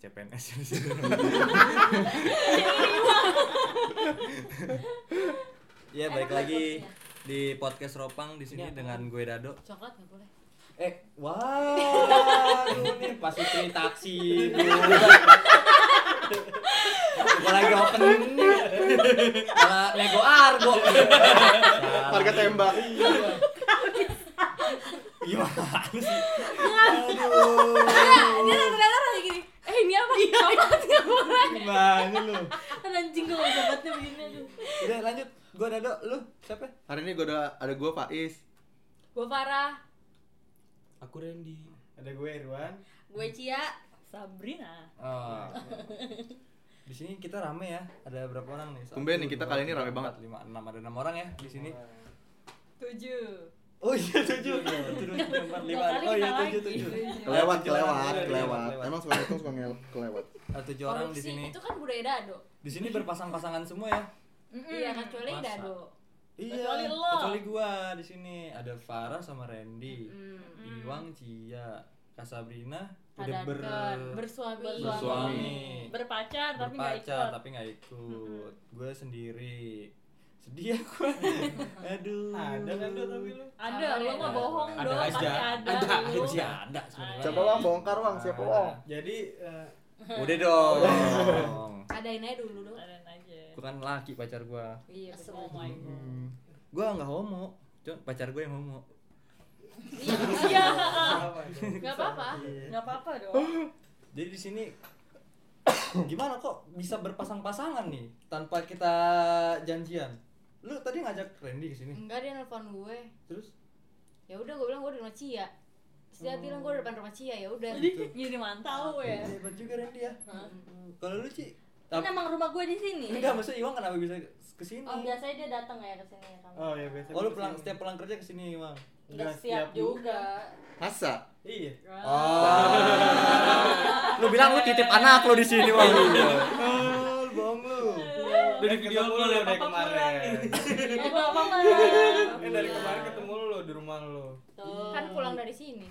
Ya, PNS di situ. ya balik Enak lagi bagusnya. di podcast Ropang di sini Ini apa? dengan gue Dado. Coklat nggak boleh. Eh, wah, ini pas istri taksi. Gua lagi open malah Lego Argo. Iya. Harga tembak. Gimana sih? Enggak, dia ternyata lagi gini. Eh ini apa? Coklat nggak boleh. Gimana lu? Kan anjing gue obatnya begini aduh. Udah lanjut. Gua Dado, lu siapa? Hari ini gue ada ada gue Faiz. Gue Farah, Aku Randy. Ada gue Irwan. gue Cia. Sabrina. Oh. Di sini kita rame ya. Ada berapa orang nih? Tumben nih, kita kali ini rame banget. 5 6 ada 6 orang ya di sini. Tujuh. Oh iya tujuh. Satu, dua, tiga, empat, lima. Kali Oh iya kita tujuh lagi. tujuh. Kelewat, kelewat, Iya, kelewat. kelewat. Emang suka itu suka ngel kelewat. Ada 7 orang di Korupsi, sini. Itu kan budaya dado. Di sini berpasang-pasangan semua ya. Iya kan kecuali Masa? dado. Iya. Kecuali lo. Kecuali gua di sini ada Farah sama Randy. Mm-mm. Iwang, Cia, Kasabrina udah Hmm. Ada ber bersuami. Bersuami. Berpacar tapi nggak berpacar ikut. tapi nggak ikut gue sendiri sedih aku aduh Ada kan Dado, tapi lu? Ada, Sabar lu Iya. ya. mah bohong Ada dong, aja. pasti ada. ada lu. aja ada sebenarnya Coba wang bongkar wang siapa wang? Jadi eh, udah dong Adain aja dulu dong. Ada aja. gue kan laki pacar gue Iya, betul. Oh my god. gue nggak homo Cuma pacar gue yang homo Iya. apa itu? Gak apa-apa. Enggak apa-apa dong. jadi di sini gimana kok bisa berpasang-pasangan nih tanpa kita janjian lu tadi ngajak Randy ke sini Enggak dia nelpon gue. terus Ya udah gue bilang gue di rumah Cia. Terus Oh. dia bilang gue di depan rumah Cia ya udah. Jadi jadi mantau ya. hebat juga Randy ya Iya. Hmm. kalau lu Ci Kan tapi- emang rumah gue di sini. enggak maksudnya Iwan kenapa bisa ke sini Iya. Oh, biasanya dia datang ya ke sini ya kamu. Oh iya biasa. Oh lu pulang setiap pulang kerja ke sini, Mang. Enggak siap juga. Masa? Iya. Oh. lu bilang lu titip anak lu di sini, Mang. Oh, lu bohong lu. Dari video Ketemu lu lu dari dari Papa kemarin. Eh, gua apa mah? Kan dari kemarin ketemu lu di rumah lu. Tuh. Kan pulang dari sini.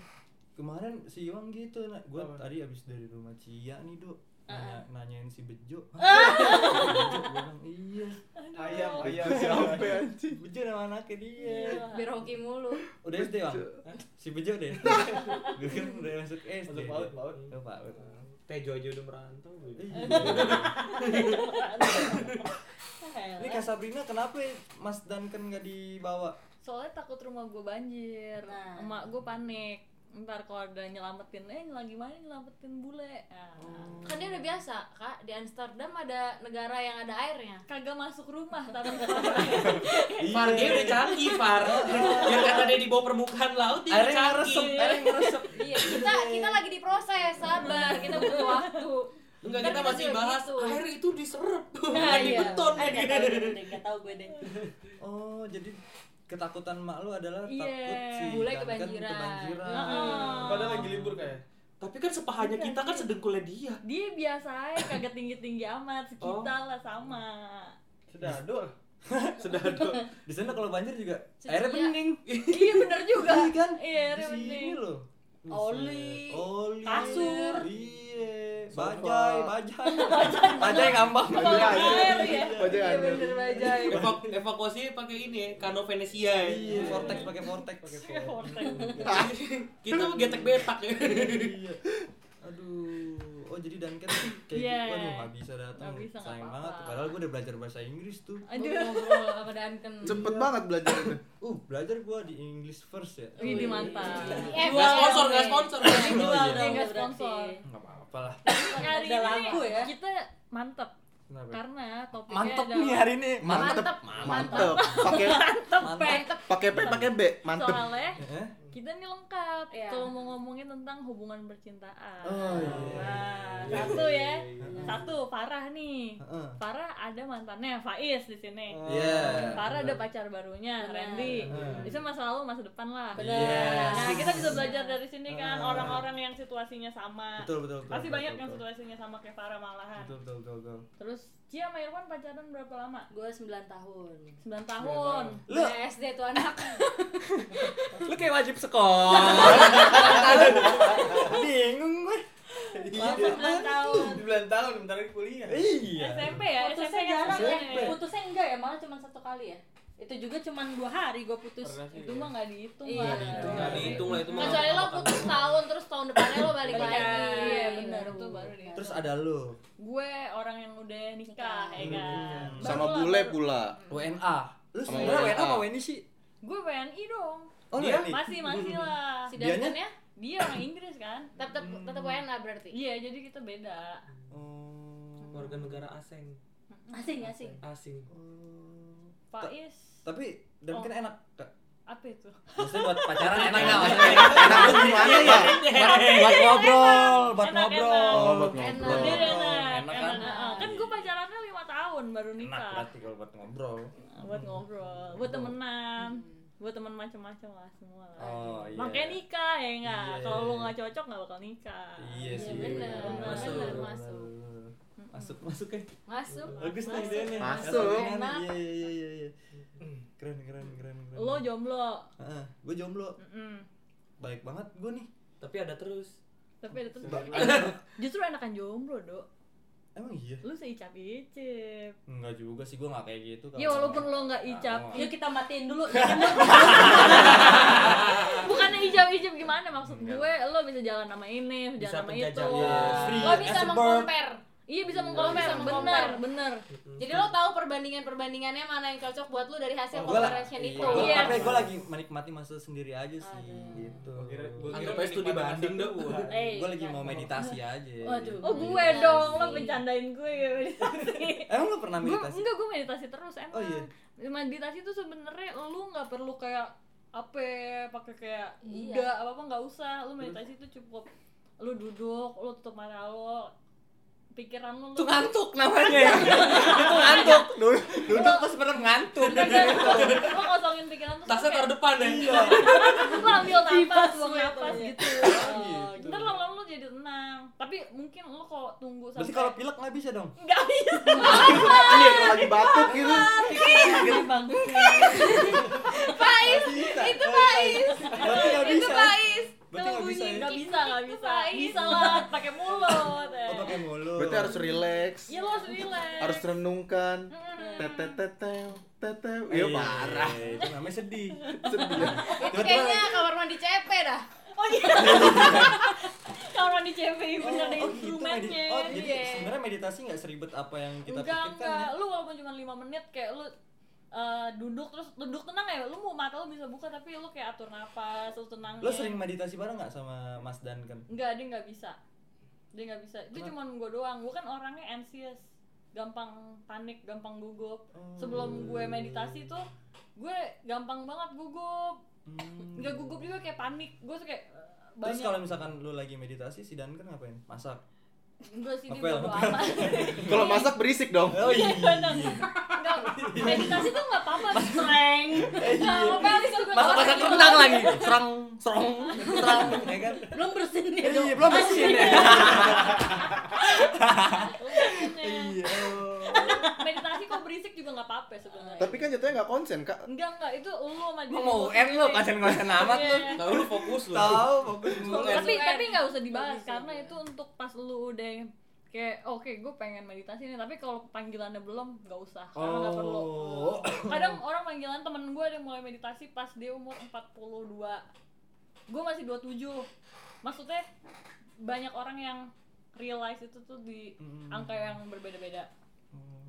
Kemarin si Iwan gitu, nak. Gua Apa? tadi abis dari rumah Cia nih, Dok. Nanya, nanyain si Bejo. Hah? Bejo gua bilang iya. Ayam, ya? ayam. Itu siapa ya? anjing? Bejo nama anaknya dia. Biar hoki mulu. Udah SD, Bang? Hah? Si Bejo deh. Gue kan udah masuk Masuk SD. PAUD, PAUD. Udah PAUD. Tejo aja udah merantau. Iya. Ini Helah. Kak Sabrina kenapa Mas Duncan nggak dibawa? Soalnya takut rumah gue banjir. Nah. Emak gue panik. Ntar kalau ada nyelamatin, eh lagi mana nyelamatin bule. Ah. Kan dia udah biasa, Kak. Di Amsterdam ada negara yang ada airnya. Kagak masuk rumah tapi Far Iya. dia udah canggih, Far. Yang kata dia di bawah permukaan laut dia Airnya ngeresep, canggih. airnya ngeresep. Iya, gitu. kita kita lagi diproses, sabar. Kita butuh waktu. Enggak Ntar kita masih juga bahas gitu. air itu diserap. Nah, Bukan di iya. beton. gitu. gitu. Gak tau gue deh Oh, jadi ketakutan mak lu adalah Iya. takut si Bule Duncan kebanjiran. kebanjiran. Heeh. Padahal lagi libur kayak. Tapi kan sepahanya kita kan sedengkulnya dia. Dia biasa aja, kagak tinggi-tinggi amat Kita lah sama Sudah adul. Sudah aduh. Di sana kalau banjir juga Sedia. airnya bening. Iya bener juga Iya kan? Iya Di sini bener loh. Oli. Oh. Oli. Kasur. Iya. Sofa. Bajai, bajai. bajai ngambang. Kalau air ya Bajai Iya air. bener bajai Evaku evakuasi pakai ini ya, kano Venesia. ya. Iya, vortex pakai vortex. kita mau getek betak ya. Eh, Iya. Aduh. Oh, jadi Duncan kayak Iya. gitu. Waduh, nggak bisa datang. Nggak bisa, nggak Sayang apa-apa. banget. Padahal gue udah belajar bahasa Inggris tuh. Aduh, Aduh ngobrol sama Duncan. Cepet banget belajarnya. Uh, belajar gua di English first ya. Wih di mantap Eh, Enggak sponsor, enggak sponsor. Jual Dia dong. Iya, nggak berarti. sponsor Enggak apa-apa lah. Eh, Hari Udah ini laku ya. kita mantep Kenapa? Karena topiknya Mantep adalah nih hari ini. Mantep. Mantep. Pakai Mantep. pakai P pakai B. Mantep. Soalnya Heeh. kita nih lengkap Iya. kalau mau ngomongin tentang hubungan percintaan. Oh, iya. Nah, satu ya. Iya, Satu Farah nih. Heeh. Farah ada mantannya Faiz di sini. Iya. Farah ada pacar barunya Randy. Benar. Iya. Itu masa lalu masa depan lah. Yes. Nah, kita bisa belajar dari sini kan Ah. orang-orang yang situasinya sama. Betul betul betul. Pasti betul, banyak betul, yang betul. situasinya sama kayak Farah malahan. Betul betul betul. betul. Terus Cia sama Irwan pacaran berapa lama? Gue 9 tahun. 9 tahun. Lu- Gue SD tuh anak. Lu kayak wajib sekolah. Bingung Iya. gue. Walaupun kan? sembilan tahun. Sembilan tahun, bentar lagi kuliah. Iya. SMP ya SMP Putusnya ya jarang ya. putusnya enggak ya malah cuma satu kali ya itu juga cuma dua hari gue putus Pernah sih, itu iya. mah nggak dihitung Iya, lah dihitung. Nggak dihitung lah itu mah. Kecuali lo putus tahun terus tahun depannya lo balik Balik lagi. lagi, iya, benar. baru. Itu baru deh. Terus ada lu, gue orang yang udah nikah ya kan Hmm. Baru sama lah, bule baru- pula WNA. Lu Sama sebenarnya WNA. WNA apa WNI sih? gue WNI dong Iya, Oh, Dia WNI. masih masih lah Si Dianya? Dustin ya? dia orang Inggris kan Tetap tetap tetap WNA berarti. iya jadi kita beda Oh. Warga negara asing, asing asing asing. Faiz Tapi Oh. dan kan enak. Kak. apa itu Maksudnya buat pacaran Eh, enak nggak? enak tuh gimana ya Maksudnya buat ngobrol, buat Enak, oh ngobrol. buat Enak. ngobrol Dia Enak, enak, enak enak, kan? enak. kan Iya. gue pacarannya lima tahun baru Enak nikah iya. berarti kalau buat ngobrol. buat ngobrol buat temenan buat teman macam-macam lah semua lah Oh iya. makanya nikah ya enggak Iya. kalau lu nggak cocok nggak bakal nikah Iya sih. bener, Masuk. bener, Masuk. masuk. Masuk, masuk ya. Masuk. Bagus nih idenya. Masuk. Enak. Iya, iya, iya, iya, iya. Keren, keren, keren, keren. lo jomblo Heeh, gue jomblo. Mm-mm. Baik banget gue nih. Tapi ada terus. tapi ada tuh Ba- justru enakan jomblo dok Emang iya? lu seicap icip Enggak juga sih, gue gak kayak gitu ya walaupun lo nggak Iya, icap Ah, yuk kita matiin dulu Iya. bukannya icap icip gimana maksud Enggak. gue lo bisa jalan sama ini bisa Bisa jalan sama itu penjajah, iya. Free Lo bisa as a bird. mengcompare. iya Bisa bisa mengkompar bener mengcompare. bener Gitu. Jadi lo tahu perbandingan-perbandingannya mana yang cocok buat lo dari hasil Gua lah- comparison iya, itu. gua- Yes. Tapi gue lagi menikmati masa stendiri aja sih Aduh. gitu. Gua kira- gua kira Anggap aja studi menikmati banding masa dah tua. gua. Eh, Gue lagi iya. mau meditasi aja. Waduh. gitu. Oh gue Meditasi. dong, lo bercandain gue ya meditasi. Emang lu pernah gue meditasi? enggak gue meditasi terus emang. Oh, iya. Meditasi tuh sebenarnya lu nggak perlu kayak apa pakai kayak Iya. Buddha apa apa nggak usah. Lu meditasi tuh cukup lu duduk, lu tutup mata lo pikiran lu Itu lu- ngantuk namanya ya. Itu ngantuk. Dulu- Duduk pas bener ngantuk. lu kosongin pikiran tuh Tasnya taruh kayak- depan ya. Iya. lu ambil napas, Kipas buang lu napas jatuhnya. gitu. Oh, gitu. Ntar lama-lama lu jadi tenang. Tapi mungkin lu kalau tunggu sampai Berarti kalau pilek nggak bisa dong? Nggak bisa. iya kalau lagi batuk gitu Eh, Pais, itu pais. Berarti nggak Itu bisa. Pais. Berarti nggak bisa ya? Nggak bisa, nggak bisa. Baik. Bisa lah, pakai mulut. eh. Oh pakai mulu. berarti harus relax Iya lo harus relax. harus renungkan Mm-mm. tetet tetel tetel ya parah Iya, Itu namanya sedih. sedih Itu kayaknya kamar mandi CP dah. Oh iya. Kalau di CPI bener deh Oh, gitu, instrumennya. medi- Oh, jadi Iya. sebenarnya meditasi nggak seribet apa yang kita Enggak, pikirkan. ya. enggak. Lu walaupun cuma 5 menit kayak lu eh, duduk terus duduk tenang ya lu mau mata lu bisa buka tapi lu kayak atur napas lu tenang ya. Lo sering meditasi bareng nggak sama Mas Dan kan? enggak dia nggak bisa dia nggak bisa itu cuma gue doang gue kan orangnya anxious gampang panik gampang gugup Hmm. sebelum gue meditasi tuh gue gampang banget gugup Hmm. nggak gugup juga kayak panik gue tuh kayak eh, Terus banyak kalau misalkan lu lagi meditasi, si Dan kan ngapain? Masak. gue sih dia Ngepel, bodo ngepel. amat kalau masak berisik dong Oh iya. Nggak, meditasi tuh nggak apa-apa streng Iya. nggak apa-apa di situ gue Masak-masak orang. rendang lagi. Serang, serong, serang. ya kan? Belum bersin dia Iya, dong. belum masih ya. Iya. meditasi kok berisik juga nggak apa-apa sebenarnya tapi kan jatuhnya nggak konsen kak enggak enggak itu lu sama dia Lu mau UN lu konsen-konsen amat lu. Iya. Tahu lu fokus lu. Tahu fokus mulu. tapi UN. tapi nggak usah dibahas Bagus, karena iya. itu untuk pas lu udah yang kayak oke gue pengen meditasi nih tapi kalau panggilannya belum nggak usah karena nggak perlu Oh. kadang orang panggilan temen gue ada yang mulai meditasi pas dia umur 42 gue masih 27 maksudnya banyak orang yang realize itu tuh di Hmm. angka yang berbeda-beda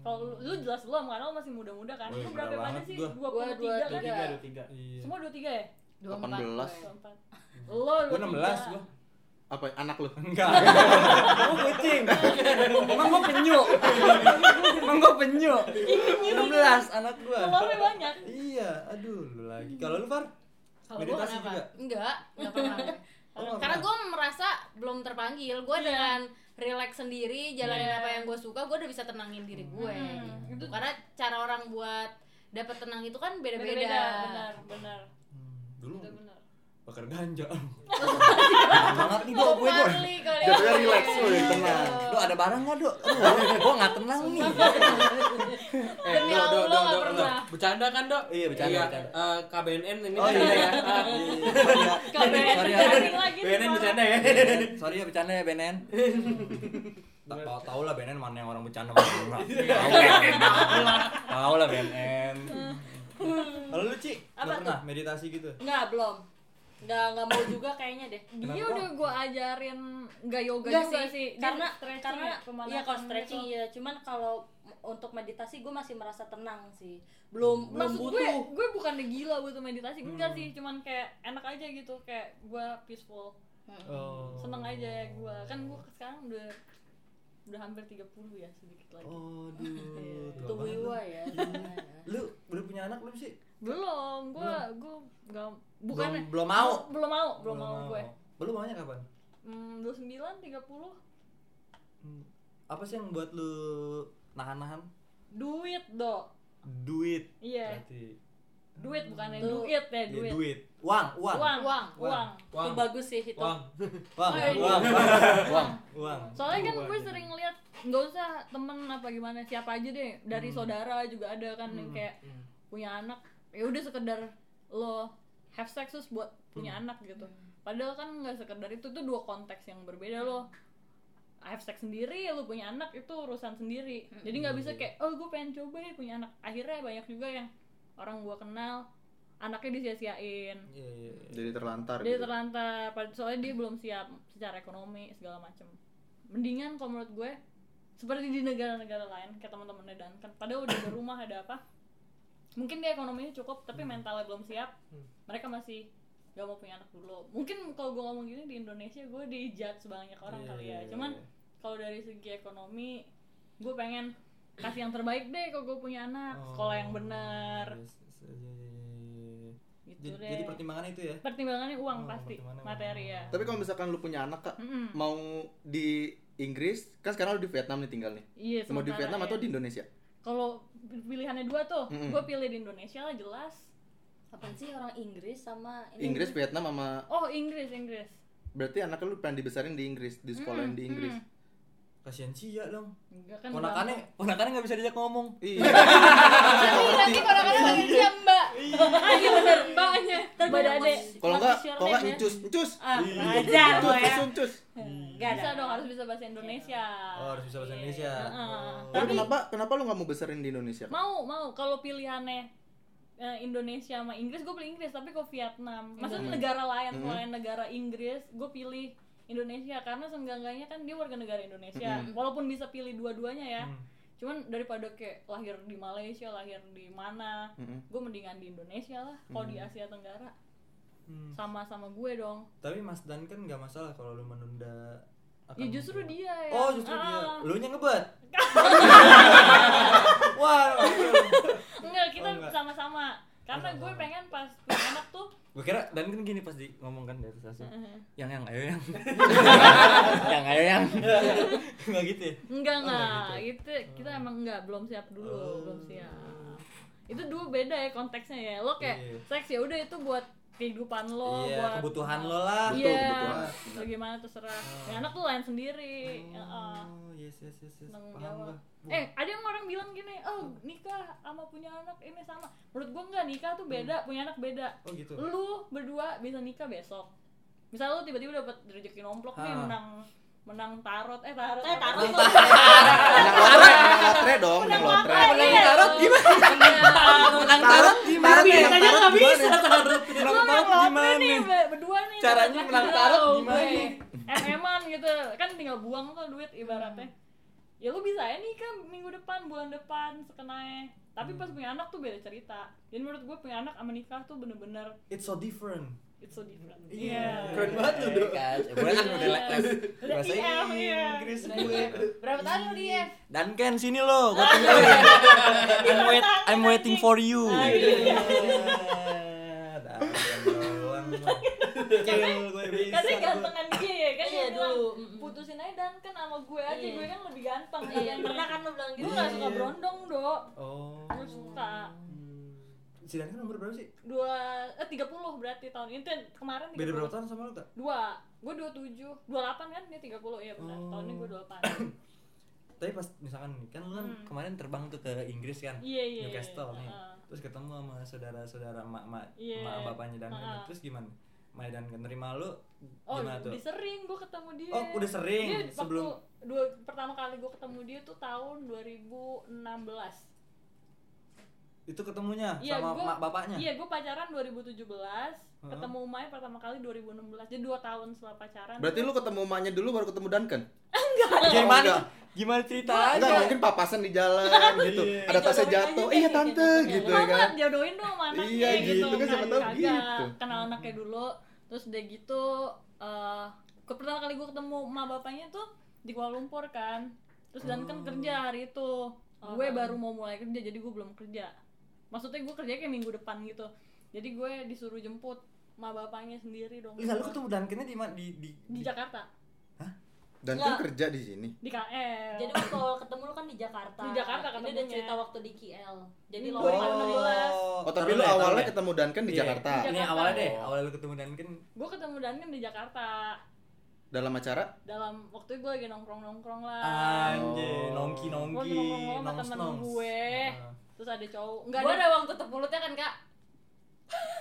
kalau lu, lu jelas belum karena lu masih muda-muda kan Wih, lu berapa muda mana banget sih gua. 23 Gua kan 23. Tiga, dua, tiga. Iya. semua 23 ya 18. 24 lo Gua 16 gua. apa anak lu Enggak. Gua kucing. Emang gua penyu. Emang gua penyu. 16 anak gua. Telurnya banyak Iya, aduh lu lagi. Kalau lu Far? Kalau gua meditasi kenapa? juga. Enggak, enggak pernah. Oh, nggak Karena pernah. gue merasa belum terpanggil. Gue Iya. dengan relax sendiri, jalanin Iya. apa yang gue suka, gue udah bisa tenangin diri gue. Gitu. Hmm, itu- Karena cara orang buat dapat tenang itu kan beda-beda. beda-beda benar benar Hmm, dulu Itu benar bakar ganja Banget nih dok, gue dok. Marley kali Jatuhnya relax, woi, tenang. Iya. Dok ada barang nggak dok? Aduh, gue nggak tenang nih. Eh, Demi do, do, do, Allah, do, nggak do. pernah. Bercanda kan, Dok? Iya, bercanda, bercanda. eh, KBNN ini Oh, bercanda iya. ya. Ah, KBN Sorry, terjadi lagi BNN nih, Pak. bercanda ya. Sorry ya bercanda ya Benen. tak tau tau lah BNN mana yang orang bercanda mana yang enggak Tau lah. tau lah BNN kalau lu Ci, nggak Apa pernah meditasi gitu Nggak, belum. Nggak, nggak mau juga kayaknya deh. Dia Kenapa? udah gue ajarin nggak yoga Enggak juga sih, sih. Dia karena stretching karena ya, pemanasan iya kalau stretching gitu. iya cuman kalau m- untuk meditasi gue masih merasa tenang sih belum belum Maksud gue, butuh gue bukannya gila butuh meditasi, Hmm. enggak sih, cuman kayak enak aja gitu, kayak gue peaceful, oh. seneng aja gue, kan gue sekarang udah udah hampir 30 ya sedikit lagi. Iya. Aduh, tua tubuh banget lu. iwa ya lu udah punya anak belum sih Belum, gue gue nggak bukan belum, belum mau belum mau, belum mau gue. belum maunya kapan Hmm, 29, 30 Hmm. apa sih yang buat lu nahan-nahan duit do duit iya berarti duit bukannya Tuh. duit ya Ya, duit duit uang uang uang Uang. uang itu Wang, bagus sih itu Wang. uang Oh, iya. uang Uang. uang soalnya kan Uang. gue sering lihat nggak usah temen apa gimana siapa aja deh dari saudara juga ada kan yang kayak Hmm. punya anak ya udah sekedar lo have sex terus buat punya anak gitu padahal kan nggak sekedar itu tuh dua konteks yang berbeda lo have sex sendiri lo punya anak itu urusan sendiri jadi nggak bisa kayak oh gue pengen coba ya punya anak akhirnya banyak juga yang orang gue kenal anaknya disia-siain Iya, iya, iya. Jadi terlantar. dia gitu. terlantar pad- soalnya dia belum siap secara ekonomi segala macem mendingan kalau menurut gue seperti di negara-negara lain kayak teman-temannya dan kan padahal udah ada rumah ada apa mungkin dia ekonominya cukup tapi Hmm. mentalnya belum siap mereka masih gak mau punya anak dulu mungkin kalau gue ngomong gini di Indonesia gue dijudge banyak orang Iya, kali iya, ya iya, cuman iya. kalau dari segi ekonomi gue pengen kasih yang terbaik deh kalau gue punya anak sekolah yang Oh, benar yes, yes, iya, iya, iya, iya. gitu Jadi- deh jadi pertimbangannya itu ya pertimbangannya uang Oh, pasti pertimbangannya materi uang. ya Tapi kalau misalkan lu punya anak kak, Mm-mm. mau di Inggris, kan sekarang lu di Vietnam nih tinggal nih. Iya, Mau di sementara Vietnam ya. atau di Indonesia? Kalau pilihannya dua tuh, Mm-mm. gue pilih di Indonesia lah jelas. apa sih orang Inggris sama ini Inggris, Vietnam sama Oh, Inggris, Inggris. berarti anak lu pengen dibesarin di Inggris, di sekolah di Hmm, Inggris. kasihan Cia dong Enggak kan. ponakannya ponakannya nggak bisa diajak ngomong Iya. Tapi nanti ponakannya lagi dia Mbak. Iya bener, Mbaknya. Mbak Dade. Kalau enggak, Harus kalau Iya, enggak share incus, incus. Ah, wajar lo Incus, ya incus. enggak Bisa ada dong harus bisa bahasa Indonesia. Iya. oh harus bisa bahasa Indonesia Heeh. Oh. Tapi Tapi- kenapa kenapa lu nggak mau besarin di Indonesia? Kak? Mau, mau kalau pilihannya eh, Indonesia sama Inggris, gue pilih Inggris, tapi kok Vietnam. Maksudnya negara lain, Hmm. selain negara Inggris, gue pilih Indonesia karena seenggak-enggaknya kan dia warga negara Indonesia. Walaupun bisa pilih dua-duanya ya. Hmm. Cuman daripada kayak lahir di Malaysia, lahir di mana, Mm-mm. gue mendingan di Indonesia lah. Kalau di Asia Tenggara Hmm. sama-sama gue dong. tapi Mas Dan kan nggak masalah kalau lu menunda Ya justru dia ya. oh justru dia Ah, lu nya ngebet wah Enggak, kita Oh, enggak. sama-sama. Karena gue Sama-sama. pengen pas punya anak tuh gue kira Dan kan gini pas di ngomong kan di atas asin yang yang ayo yang yang ayo yang nggak gitu ya Enggak Oh, enggak enggak, itu kita emang enggak belum siap dulu, Oh. belum siap. Itu dua beda ya konteksnya ya. Lo kayak Iya. seks ya udah itu buat kehidupan lo, iya buat kebutuhan lo lah Betul, Iya. kebutuhan. Bagaimana terserah. Ya, anak tuh lain sendiri. Heeh. oh yes yes yes, yes. eh, Tanggung paham jawab. gua Eh, ada yang orang bilang gini, "Oh, nikah sama punya anak ini sama." Menurut gua enggak, nikah Hmm. tuh beda, punya anak beda. oh gitu Lu berdua bisa nikah besok. Misal lu tiba-tiba dapat rezeki nomplok nih Ah. menang menang tarot eh tarot Eh, Apa? tarot. Menang lotre, menang lotre dong, menang lotre. Menang tarot gimana? Menang tarot gimana? Biasanya nggak bisa tarot. Menang Gue menang ya? tarot lotre gimana? nih be- berdua nih Caranya Dapat menang duit tarot jauh, gimana? gue. MM-an gitu Kan tinggal buang tuh duit ibaratnya Ya lu bisa ya nikah minggu depan, bulan depan, sekenanya Tapi Hmm. pas punya anak tuh beda cerita Jadi menurut gue punya anak sama nikah tuh bener-bener it's so different It's so different Iya. Keren banget lu, Dok. Gue kan udah Iya. les Udah bahasa IF, iya. Inggris gue Berapa tahun lu di F? Dan Ken sini lo, Ah. gue tungguin. I'm, wait, I'm waiting for you. Dah, yang doang. Kecil gue bisa. Katanya gantengan Kan dia ya kan Iya, dia bilang dulu. putusin aja dan kan sama gue aja Iya. gue kan lebih ganteng iya pernah kan lu bilang gue gitu gak suka berondong dok Oh. gue suka si Dani kan umur berapa sih? dua eh tiga puluh berarti tahun ini Ten- kemarin Beda 30. berapa tahun sama lu tak? dua gue dua tujuh dua delapan kan dia tiga puluh ya benar Oh. tahun ini gue dua delapan Tapi pas misalkan nih, kan lu kan Hmm. kemarin terbang tuh ke Inggris kan? iya iya Newcastle iya. nih. Heeh. Terus ketemu sama saudara-saudara mak-mak, Iya. mak bapaknya dan nenek. Ah. Terus gimana? Mak dan nerima lu oh gimana tuh? udah sering gue ketemu dia Oh, udah sering dia waktu sebelum dua pertama kali gue ketemu dia tuh tahun 2016 itu ketemunya Iya, sama gua- mak bapaknya. Iya, gue pacaran 2017, Heeh. ketemu Mai pertama kali 2016. Jadi 2 tahun setelah pacaran. Berarti lu ketemu emaknya dulu baru ketemu Duncan? Gimana? enggak. Gimana cerita Enggak, aja? mungkin papasan di jalan gitu. Iya. Ada tasnya Jodohin jatuh. aja Iya deh, tante jodohin. gitu Mama, ya kan. Jodohin dong sama anaknya Iya, gitu kan, siapa tahu Kagak, gitu. Kenal anaknya dulu, terus udah gitu eh ke pertama kali gue ketemu sama bapaknya tuh di Kuala Lumpur kan. Terus dan Oh. kan kerja hari itu. Gue kan. baru mau mulai kerja jadi gue belum kerja. Maksudnya gue kerja kayak minggu depan gitu. Jadi gue disuruh jemput sama bapaknya sendiri dong. Lalu Iya, ketemu Duncan-nya di mana? Di di, di Jakarta, Duncan Lah. kan kerja di sini. di KL. Jadi waktu awal ketemu lu kan di Jakarta. Di Jakarta Ini udah ketemunya. cerita waktu di KL. Jadi Ini lo dua ribu enam belas. Oh, tapi lu awalnya ketemu Duncan di Iya. Jakarta. Ini Di Jakarta. Oh. awalnya deh, awalnya lu ketemu kan, Duncan gue ketemu Danin di Jakarta Dalam acara? dalam waktu gue lagi nongkrong nongkrong lah anjir, Oh. gue nongki-nongki, nongkrong sama temen nongs-nongs. gue Ah. terus ada cowok nggak Gue ada ada uang tutup mulutnya kan kak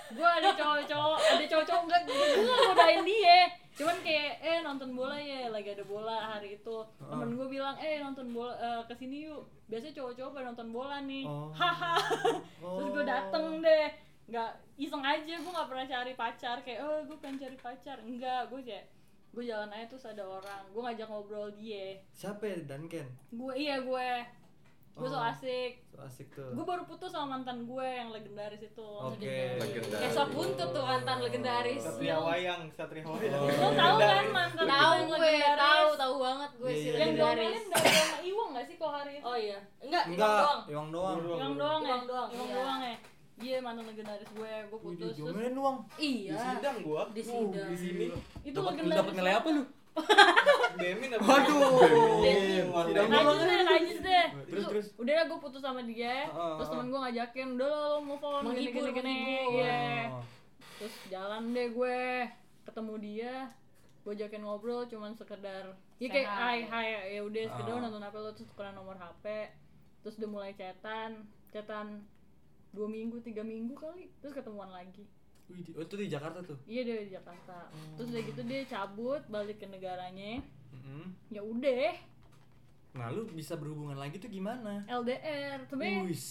gue ada cowok cowok ada cowok cowok nggak gue nggak godain dia cuman kayak eh nonton bola ya lagi ada bola hari itu temen gue bilang eh nonton bola eh, kesini yuk biasanya cowok cowok pada nonton bola nih Oh. haha terus gue dateng deh nggak iseng aja gue nggak pernah cari pacar kayak oh gue pengen cari pacar enggak gue kayak gue jalan aja terus ada orang gue ngajak ngobrol dia Siapa ya Duncan? gue iya gue gue so Oh. asik So asik tuh. gue baru putus sama mantan gue yang legendaris itu Oke. Legendaris. Esok buntut tuh mantan legendaris Satria Wayang, Satria Oh. Wayang. lo tau kan mantan Tahu yang gue, legendaris? tahu, tahu banget gue Iya, si iya. yang legendaris diomelin dari sama Iwang gak sih kok hari itu Oh iya. Enggak, Enggak. Enggak, doang. Iwang doang. Iwang doang ya Iwang doang, Iwang iya. doang ya iya mantan legendaris gue gue Wih, putus terus diomelin doang. Di Iya. sidang gua. Di sidang. Di sini. itu Dapat lu legendaris dapat nilai apa lu? Demin apa? Oh, Waduh. Sidang Najis deh, najis deh. Terus, terus. Ah, Udah dah gue putus sama dia. Heeh, Terus heeh. temen gue ngajakin, udah lo lo move on. gini, Menghibur, gini, gini." menghibur. Iya. Oh. Terus jalan deh gue ketemu dia. Gue ajakin ngobrol cuman sekedar ya kayak Sehat. hai hai ya udah sekedar Ah. nonton apa lo terus tukeran nomor HP. Terus udah mulai chatan, chatan dua minggu tiga minggu kali terus ketemuan lagi Wih, di- oh, itu di Jakarta tuh. iya dia di Jakarta terus udah gitu dia cabut balik ke negaranya Mm-mm. ya udah Nah, lu bisa berhubungan lagi tuh gimana? LDR sebenarnya Wih,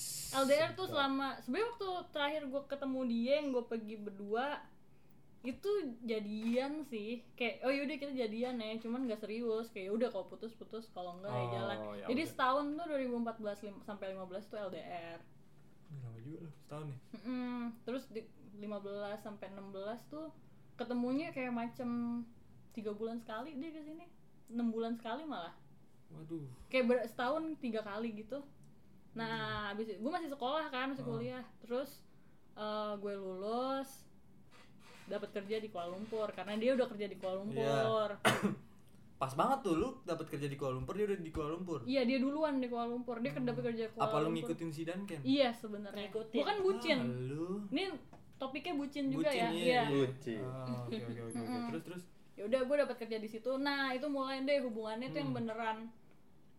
LDR tuh selama sebenarnya waktu terakhir gue ketemu dia yang gue pergi berdua itu jadian sih kayak oh yaudah kita jadian ya cuman gak serius kayak udah kalau putus putus kalau enggak ya Oh, jalan ya jadi udah. setahun tuh 2014 lim- sampai 15 tuh LDR Lama juga loh, setahun ya? nih. Mm-mm. terus di 15 sampai 16 tuh ketemunya kayak macem tiga bulan sekali dia kesini enam bulan sekali malah Waduh. kayak ber- setahun tiga kali gitu Hmm. nah abis gue masih sekolah kan masih Ah. kuliah terus eh, gue lulus dapat kerja di Kuala Lumpur karena dia udah kerja di Iya. Kuala Lumpur Pas banget tuh lu dapat kerja di Kuala Lumpur, dia udah di Kuala Lumpur. iya dia duluan di Kuala Lumpur dia dapat kerja di Kuala Hmm. Apa lu Lumpur ngikutin si Duncan? iya sebenarnya Ngikutin. bukan bucin Ah, lu. ini topiknya bucin juga Bucin, ya iya, iya Lucu. Ah, Oke, oke, oke, oke. Terus, terus. ya udah gue dapat kerja di situ nah itu mulai deh hubungannya tuh yang Hmm. beneran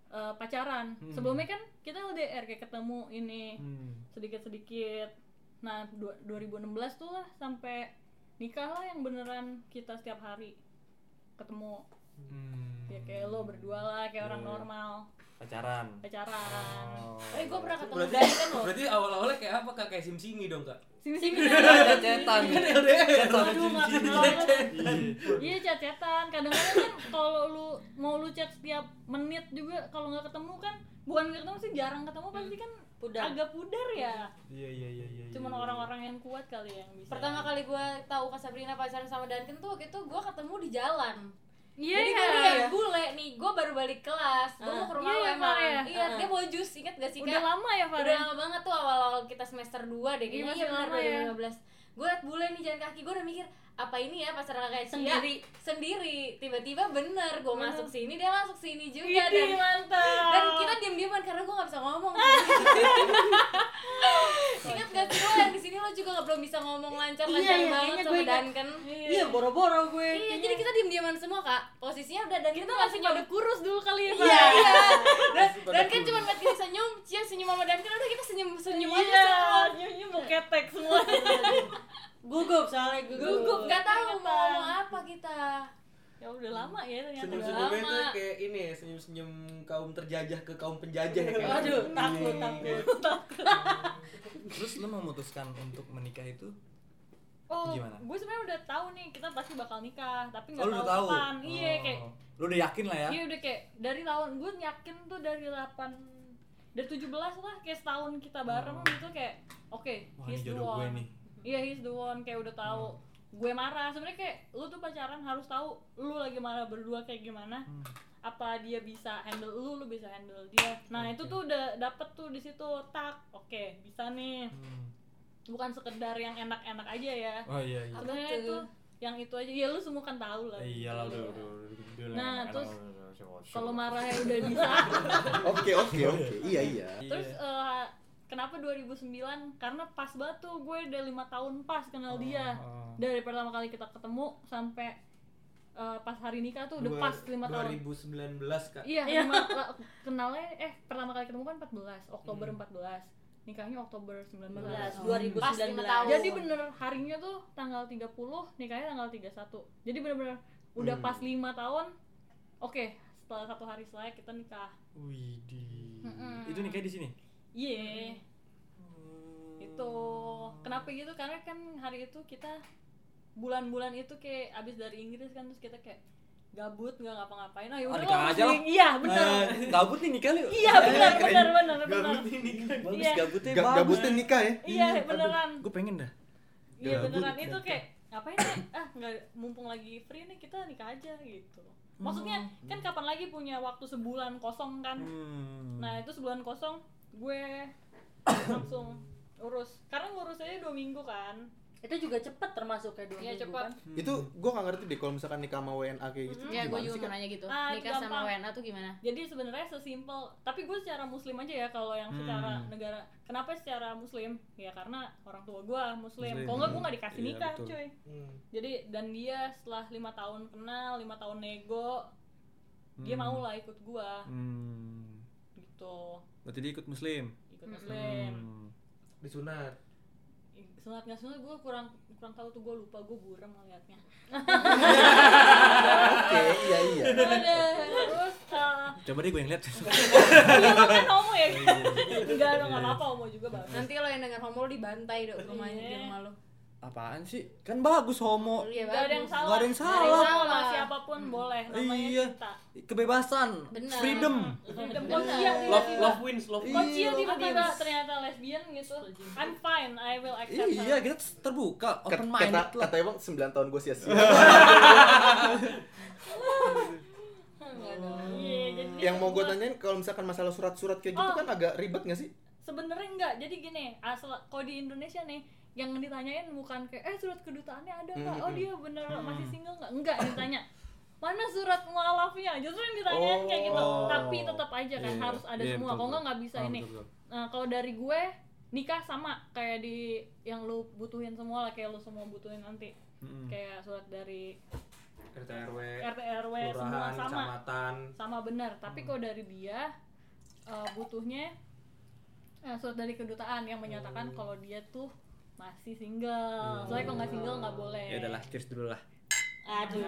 eh, pacaran Hmm. sebelumnya kan kita LDR kayak ketemu ini Hmm. sedikit-sedikit. Nah, du- 2016 tuh lah sampai nikah lah yang beneran kita setiap hari ketemu Hmm. ya kayak lo berdua lah kayak orang Iya. normal pacaran. pacaran. Oh. Eh, gua pernah ketemu Berarti- Dani kan lo. Berarti awal-awalnya kayak apa kak? Kayak simsimi dong kak? Sini-sini Ada cetan. LDR. Aduh, nggak kenal banget. Iya. Iya chat-chatan. Kadang-kadang kan kalau lu mau lu chat setiap menit juga kalau nggak ketemu kan bukan nggak ketemu sih jarang ketemu pasti kan Pudar. agak pudar ya. Iya, iya, iya, iya. Cuman iya. orang-orang yang kuat kali yang bisa. Pertama kali gue tahu Kak Sabrina pacaran sama Duncan tuh waktu itu gue ketemu di jalan Iya. Jadi ya, gue udah yang bule nih, gue baru balik kelas Gue mau ke rumah Iya, lo iya, emang Far, ya? Iya, Ah. dia bawa jus, inget gak sih Udah Kak? lama ya, Udah Farel? lama banget tuh awal-awal kita semester 2 deh Iya, kayaknya masih Iya bener lama ya. 2015 Gue liat bule nih jalan kaki, gue udah mikir apa ini ya pacar kakak Cia Sendiri. sendiri tiba-tiba bener gue Bener. masuk sini dia masuk sini juga dan Widih, mantap. dan kita diam-diaman karena gue nggak bisa ngomong ingat gak sih lo yang di sini lo juga nggak belum bisa ngomong lancar Iya, lancar iya, banget kayaknya sama gue ingat. Duncan Iya, boro-boro gue. Iya, jadi kita diam-diaman semua kak. Posisinya udah dan kita kita masih langsung pada nyodok. kurus dulu kali ya, Pak. Iya, iya. Dan, dan kan cuma ngeliat kita senyum, Cia senyum sama dan kan udah kita senyum senyum aja Iya, semua. nyanyi mau ketek semua. Gugup soalnya Gugup, nggak tahu mau Ternyata. ngomong apa kita. Iya, ya udah lama ya ternyata. Senyum-senyum. Senyum-senyumnya Lama. tuh kayak ini ya, senyum-senyum kaum terjajah ke kaum penjajah ya kan. Waduh, takut, takut. Nah, Terus lu memutuskan untuk menikah itu? Oh, Gimana? gue sebenarnya udah tahu nih kita pasti bakal nikah, tapi nggak Oh, lu tahu udah tahu. kapan. Iya, Oh. kayak lu udah yakin lah ya. Iya udah kayak dari tahun gue yakin tuh dari 8 dari 17 lah kayak setahun kita bareng Hmm. gitu kayak oke Wah, he's ini the jodoh gue one. nih. Iya he's the one kayak udah tahu. Hmm. Gue marah sebenarnya kayak lu tuh pacaran harus tahu lu lagi marah berdua kayak gimana. Hmm, Apa dia bisa handle lu, lu bisa handle dia. Nah, itu Oke. tuh udah dapet tuh di situ tak. Oke, bisa nih. Hmm. Bukan sekedar yang enak-enak aja ya. Oh iya iya. Sebenarnya Apa tuh? itu yang itu aja. Ya lu semua kan tahu lah. Iya lah udah udah Nah, terus kalau marahnya udah bisa Oke oke oke. Iya iya. Terus eh, kenapa 2009? Karena pas banget tuh gue udah lima tahun pas Oh. kenal dia. Dari pertama kali kita ketemu sampai eh, pas hari nikah tuh udah pas lima tahun. 2019 Kak. Iya, lima- la- kenalnya eh pertama kali ketemu kan 14 Oktober 14. Nikahnya Oktober 19. 2019. Pas lima tahun. Jadi bener harinya tuh tanggal 30, nikahnya tanggal 31. Jadi bener-bener udah pas lima tahun. Oke, setelah satu hari setelah kita nikah. Widih. Mm-mm. Itu nikah di sini. Iya. itu kenapa gitu karena kan hari itu kita bulan-bulan itu kayak abis dari Inggris kan terus kita kayak gabut nggak ngapa-ngapain ah yaudah nikah lah, aja lah. mending- iya benar Eh, gabut nih nikah lu. Eh, iya benar benar benar benar Bagus Iya. gabutnya Ga- bagus. gabutin nikah ya. iya Aduh, beneran Gue pengen dah. iya gabut, beneran itu ternyata. kayak ngapain ya ah nggak mumpung lagi free nih kita nikah aja gitu maksudnya kan kapan lagi punya waktu sebulan kosong kan Hmm. Nah itu sebulan kosong gue langsung urus karena ngurus aja dua minggu kan Itu juga cepet termasuk ya dua Iya, minggu, cepet. kan? Itu gua nggak ngerti deh kalau misalkan nikah sama WNA kayak gitu. Ya gue juga gimana sih, mau Kak? nanya gitu. Ah, Nikah sama gampang. Wena tuh gimana? jadi sebenarnya sesimpel tapi gue secara muslim aja ya kalau yang secara negara kenapa secara muslim ya karena orang tua gue muslim Muslim. kalau nggak gue nggak dikasih Iya, nikah betul. cuy Hmm. jadi dan dia setelah lima tahun kenal lima tahun nego dia Hmm. mau lah ikut gue Hmm. gitu Berarti dia ikut muslim. ikut muslim Hmm. Disunat. sunat nggak sunat gue kurang kurang tahu tuh gue lupa gue buram ngeliatnya Oke, iya iya. terus uh, Coba deh gue yang lihat. Iya, lo kan homo ya? Enggak, lo nggak apa-apa homo juga bagus Nanti kalau yang denger homo lo dibantai dong rumahnya di Iya. rumah lo. Apaan sih? Kan bagus homo. Iya Gak ada yang bagus. salah. Nggak ada yang Nggak salah. ada yang salah. Siapapun boleh namanya Iya. kita. Kebebasan, Bener. freedom. Iya. Freedom Iya. Kocia Love tiba-tiba. love wins, love wins. Kocia Iya. tiba-tiba ternyata lesbian gitu. I'm fine, I will accept Iya, her. kita terbuka, Kat- open Kata minded lah. kata emang 9 tahun gua sia-sia. Enggak dong. Iya, jadi yang mau gue semua- tanyain kalau misalkan masalah surat-surat kayak gitu Oh. kan agak ribet gak sih? Sebenarnya enggak. Jadi gini, asal kalau di Indonesia nih yang ditanyain bukan kayak eh surat kedutaannya ada nggak? Hmm, Oh dia bener Hmm. masih single nggak? Enggak yang ditanya. Mana surat mualafnya? Justru yang ditanyain kayak gitu. Oh. Tapi tetap aja kan Iya, harus ada iya, betul, semua. Kalau enggak betul. nggak bisa Ah, ini. betul, betul. Nah, kalau dari gue nikah sama kayak di yang lu butuhin semua lah kayak lu semua butuhin nanti. Mm-mm. Kayak surat dari RT RW, RT RW semua kelurahan, sama. kecamatan. Sama benar, Hmm. tapi kalau dari dia eh, butuhnya eh, surat dari kedutaan yang Oh. menyatakan kalau dia tuh masih single. Soalnya kalau nggak single nggak boleh. Iya. Ya udahlah, Iya, cheers dulu lah. Aduh.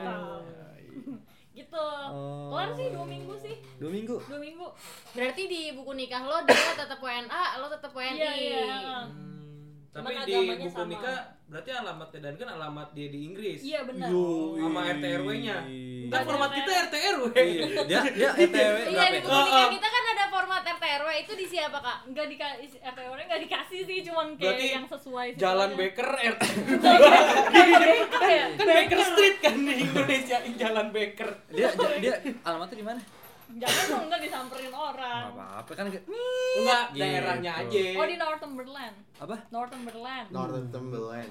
gitu. Kelar sih dua minggu sih. Oh. Dua minggu. Dua minggu. Berarti di buku nikah lo dia tetap WNA, lo tetap WNI. Iya, iya. Hmm. Cuman Tapi di agamanya buku sama. nikah berarti alamatnya dan kan alamat dia di Inggris. Iya benar. Sama RT RW-nya. Iya. Kan format kita RT RW. Iya. Dia dia ETW Iya berapa di ya? buku nikah kita kan ada format RTRW itu di siapa kak? Nggak dikasih RTW nggak dikasih sih, cuman kayak Berarti yang sesuai sih. Jalan Baker RT. Iya. Kayak Kan Baker Street kan di Indonesia, Jalan Baker. Dia dia, dia alamatnya di mana? Jangan dong nggak disamperin Enggak orang. apa-apa kan kayak- Enggak, Gitu. daerahnya aja. Oh di Northumberland. apa? Northumberland. Northumberland.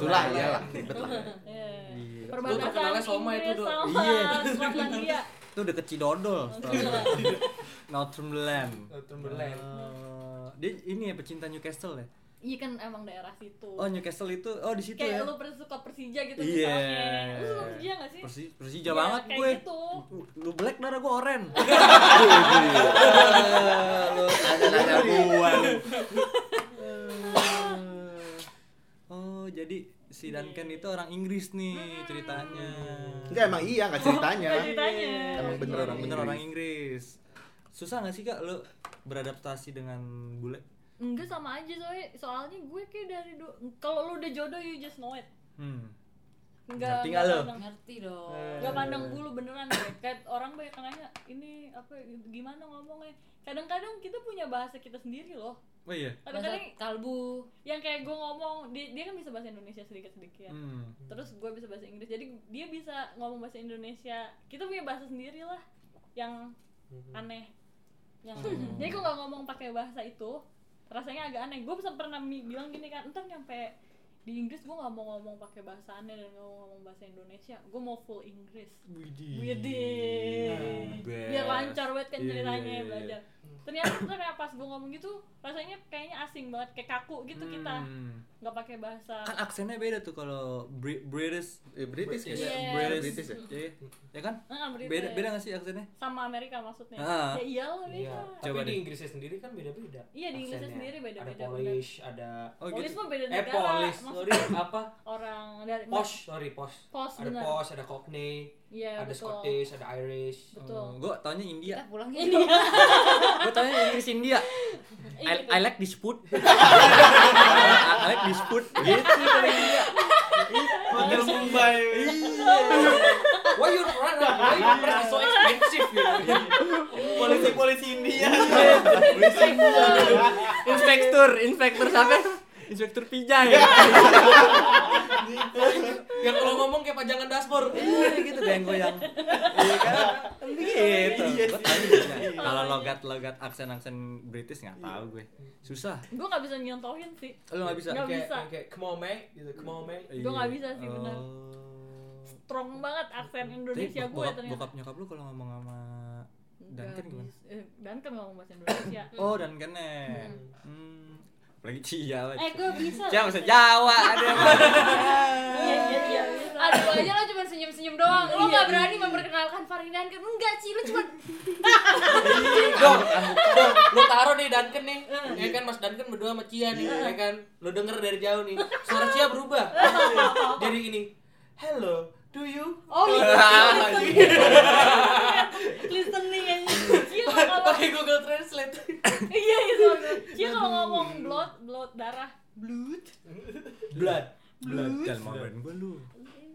Itulah iyalah ribet lah. Iya. Gila. Gua terkenalnya Perbatasan Soma itu, Inggris Dok. sama Iya. Skotlandia. Itu deket Cidodol. Australia. Northumberland. Northumberland. Eh, dia ini ya pecinta Newcastle ya. Iya kan emang daerah situ. Oh Newcastle itu oh di situ ya. kayak lu pernah suka Persija gitu Iya. misalnya. Lu suka Persija gak sih? Persi, Persija banget kayak gue. gitu. Lu- Lu black darah gue oren. iya. ada ada gua lu. oh jadi si Duncan itu orang Inggris nih ceritanya. Enggak emang iya enggak ceritanya. Gak ceritanya. Iya. Emang bener orang iya. bener Inggris. orang Inggris. Susah nggak sih kak lu beradaptasi dengan bule? Enggak sama aja soalnya soalnya gue kayak dari du- kalau lu udah jodoh you just know it. Hmm. Enggak Ngerti nggak lu? ngerti dong Eh. Enggak pandang bulu beneran deh. Kayak orang banyak yang nanya ini apa gimana ngomongnya. Kadang-kadang kita punya bahasa kita sendiri loh. Oh iya. Bahasa Kadang-kadang kalbu yang kayak gue ngomong dia, dia kan bisa bahasa Indonesia sedikit-sedikit. ya. Hmm. terus gue bisa bahasa Inggris jadi dia bisa ngomong bahasa Indonesia kita punya bahasa sendiri lah yang Hmm. Hmm. aneh yang jadi gue nggak ngomong pakai bahasa itu rasanya agak aneh gue bisa pernah mi- bilang gini kan entar nyampe di Inggris gue nggak mau ngomong pakai bahasa aneh dan nggak mau ngomong bahasa Indonesia gue mau full Inggris Widih biar lancar banget kan Iya, ceritanya iya, iya, belajar ternyata ternyata pas gue ngomong gitu rasanya kayaknya asing banget kayak kaku gitu kita Hmm. nggak pakai bahasa Kan aksennya beda tuh kalau Bri- British. Eh, British ya? Iya. British. British ya? Iya. Ya kan? Nggak berita Beda ya. beda nggak sih aksennya? sama Amerika maksudnya Ah. ya iyalah beda Iya. Coba Tapi di deh. Inggrisnya sendiri kan beda-beda. Iya, di Inggrisnya aksennya. sendiri beda-beda, Ada Polish, ada Oh polis gitu. mah beda eh negara Polish, maksud sorry apa? orang dari Posh, sorry Posh. pos Ada benar Posh, ada Cockney, ada iya betul Scottish, ada Irish. betul gue Oh, taunya India. kita pulang ini gitu gue taunya Inggris India. Iya, I, I like this food. I like this food. Gitu Iya, dari India. Hotel Mumbai. Why you run? Why you run so expensive? Polisi-polisi India. Polisi India. Inspektur, inspektur siapa? Inspektur pijay. Iya, Yang Ya, kalau ngomong kayak pajangan dashboard. Iya gitu goyang-goyang. Iya kan? Begitu. Iya, Gua taunya India. Kalau logat-logat aksen-aksen British nggak tahu gue. Susah. gue nggak bisa nyontohin sih Lo nggak bisa. Iya. Nggak Kayak- bisa. Kayak come on mate, gitu, come on mate. Gua nggak bisa sih, benar. Oh. strong banget aksen Tapi Indonesia gue bokap, ternyata bokap nyokap lu kalau ngomong sama Nggak Duncan gimana? bisa. Eh, Duncan ngomong bahasa Indonesia Oh dan kene. Hmm. Lagi cia lah. eh gue bisa Cia bahasa Jawa ada. iya iya iya bisa Aduh aja lo cuma senyum-senyum doang Lo gak berani memperkenalkan Faridan kan Enggak Ci, lo cuma Dong, dong, lu taruh nih Duncan nih, ya kan Mas Duncan berdua sama Cia nih, ya kan, lu denger dari jauh nih, suara Cia berubah, jadi gini, hello, do you? oh Iya. listening listening aja Cia kalau Pakai Google Translate. iya itu Cia kalau ngomong blood blood darah Blood. Jangan mamain gua lu.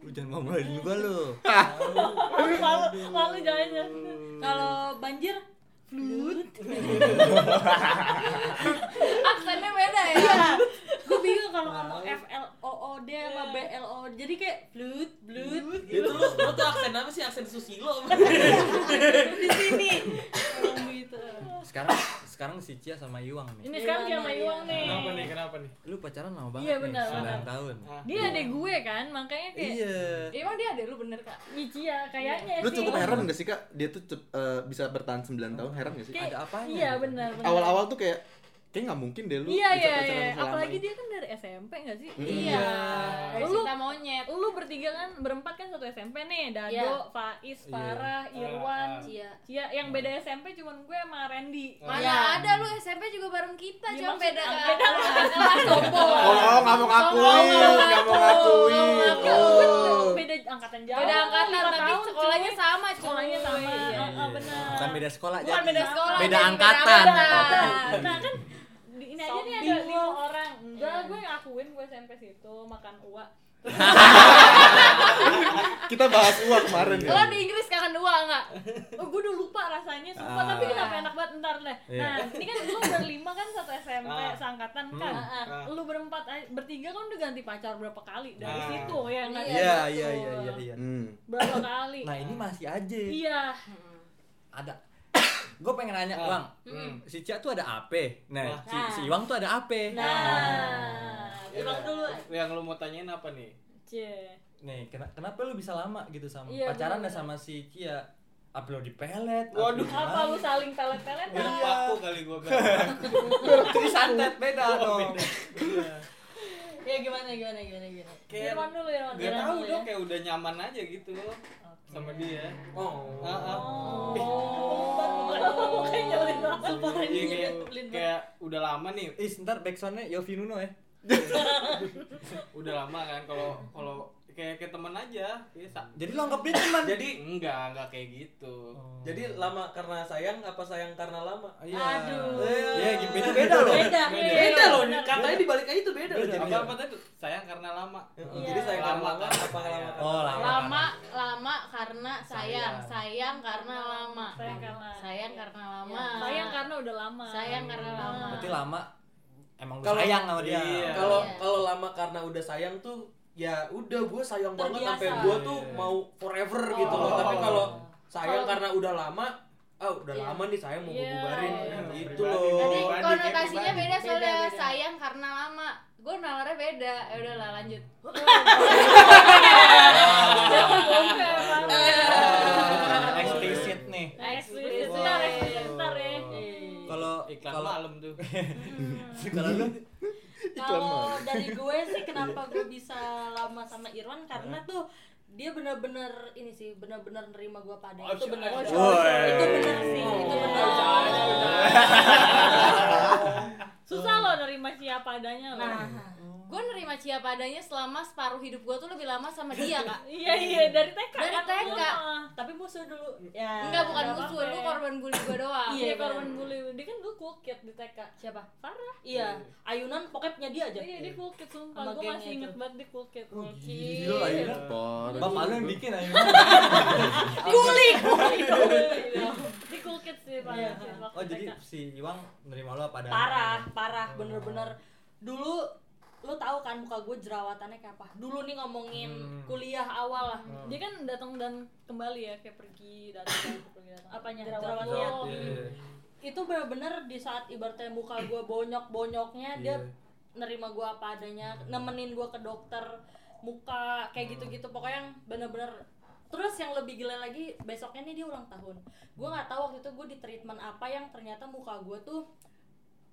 Lu jangan mamain gua lu. malu malu jangan jangan. kalau banjir aksennya beda ya gue bingung kalau ngomong F L O O D sama B L O jadi kayak blut Iya. blut Gitu. Itu lu, lu tuh aksen apa sih? Aksen Susilo. di sini ngomong gitu Sekarang sekarang si Cia sama Iwang nih. ini sekarang dia sama Iwang nih Kenapa nih? Kenapa nih? Ya Lu pacaran lama banget Iya, nih, benar, 9 benar. tahun. Iya. dia ada gue kan makanya kayak Iya. Emang dia ada lu bener kak Micia kayaknya Lu sih cukup heran gak sih Kak? Dia tuh cep- eh, bisa bertahan 9 tahun, heran gak sih? Kayak- Ada apanya? iya benar benar. Awal-awal tuh kayak kayak nggak mungkin deh lu iya bisa iya pacaran iya selama apalagi ini. dia kan dari SMP gak sih Iya Lu- Cinta monyet lu bertiga kan berempat kan satu SMP nih Dado, Iya. Faiz, Farah, Irwan, Iya Cia yang beda SMP cuman gue sama Randy. Nah, Mana Iya. ada lu SMP juga bareng kita, Iya, cuma maksud- beda ah, beda kelas sombong. Oh, nggak mau ngakuin, nggak mau oh. ngakuin. Kan Oh. gue beda angkatan jauh. Beda angkatan lima tapi tahun, sekolahnya cuy. sama, cuy. sekolahnya sama. Iya. Ah, ah, benar. Bukan beda sekolah Bukan beda sekolah, Beda jadi angkatan. angkatan. Nah, kan di- ini aja nih ada Sombong. lima orang. Enggak, Iya. gue ngakuin gue SMP situ makan uak. Kita bahas uang kemarin ya. Lo di Inggris kangen dua enggak? Oh, gue udah lupa rasanya, sumpah. Ah. Tapi kenapa enak banget ntar deh. Iya. Hmm. Nah, ini kan lu berlima kan satu SMP, Ah. seangkatan kan. Ah. Ah. Lu berempat, aja- bertiga kan udah ganti pacar berapa kali dari Ah. situ ya nggak sih? Nah. Iya, iya, iya, iya, iya. Hmm. Berapa kali? Nah, ini masih aja. Iya. Ada. Gue pengen nanya, Bang. Si Cia tuh ada AP. Nah, si, si Iwang tuh ada AP. Iya. Nah, bilang dulu. Yang lu mau tanyain apa nih? Cie. nih kena- kenapa lu bisa lama gitu sama Iya, pacaran ya sama bener-bener. si Kia apa lu dipelet apa Waduh. lu Apa lu gimana? saling pelet-pelet? Biar Iya. paku kali gua kan. itu disantet beda dong Ya gimana gimana gimana gimana. Kayak- Irwan dulu Irwan. Gak Irwan tahu dulu dong ya. kayak udah nyaman aja gitu sama dia. Oh. Ah, ah. Oh, mukanya nyelin langsung parah Iya kayak nyebelin banget. kayak udah lama nih, Ih, sebentar backsoundnya Yofi Nuno ya. udah lama kan kalau kalau kayak kayak teman aja. Iya, sa- Jadi lo anggap dia teman. Jadi enggak, enggak kayak gitu. jadi lama karena sayang apa sayang karena lama? Iya. Aduh. Iya, gitu beda beda loh. Beda. Beda Iya. loh, katanya dibalik aja itu beda loh. Beda. Jadi Apa apa tadi? Sayang karena lama. Jadi sayang karena Lama lama kan? apa karena lama? Oh, lama. lama lama karena sayang Sayang. sayang karena lama Sayang karena sayang karena lama Iya. sayang karena udah lama. Iya. sayang karena lama Berarti lama emang lu Kalau- sayang sama dia. Iya. Kalau Iya. kalau lama karena udah sayang tuh ya udah gua sayang banget Terbiasa. sampai gua tuh mau forever gitu loh. Tapi kalau sayang Kalau- karena udah lama, ah udah Iya. lama nih sayang mau Iya. gua bubarin Iya. gitu Nanti Pribadi. loh. Pribadi, kayak konotasinya pribadi. beda soalnya Beda, beda. sayang karena lama. Gue nalarnya beda. Ya udahlah lanjut. Jangan bongkar. Ah, Eksplisit nih. Eksplisit ntar ya, ntar ya. Kalau Iklan kalau malam tuh. kalau lu Kalau dari gue sih kenapa gue bisa lama sama Irwan karena tuh dia bener-bener ini sih bener-bener nerima gue padanya itu bener Oh, itu Woi. bener sih itu bener Susah loh nerima siapa adanya loh. nah Gue nerima Cia padanya selama separuh hidup gue tuh lebih lama sama dia kak. Iya iya dari TK. Dari kan? TK. Lama. tapi musuh dulu ya Enggak bukan Iya, nggak musuh, apa-apa lu ya. korban bully gue doang. Iya Iya, korban bener. bully. Dia kan gue kukit di TK. Siapa? Farah. iya ayunan pokoknya punya dia aja Iya dia kukit Sama sumpah. Gue gengnya masih inget itu. banget dia kukit. Oh, gila akhirnya. Iya. Parah. Bapak lu Iya. yang bikin aja. Kuli kuli. Iya. Dia kukit sih Iya. Farah. sih, waktu Oh, jadi Oh. TK. si Iwang nerima lu apa adanya. parah parah bener-bener dulu lu tahu kan muka gue jerawatannya kayak apa dulu nih ngomongin Hmm. kuliah awal lah Dia kan datang dan kembali ya kayak pergi datang pergi datang. Apanya? Jerawat Jerawatnya. lo. Iya, itu bener-bener di saat ibaratnya muka gue Iya. bonyok-bonyoknya dia nerima gue apa adanya Hmm. nemenin gue ke dokter muka kayak gitu-gitu pokoknya yang bener-bener terus yang lebih gila lagi besoknya nih dia ulang tahun gue nggak tahu waktu itu gue di treatment apa yang ternyata muka gue tuh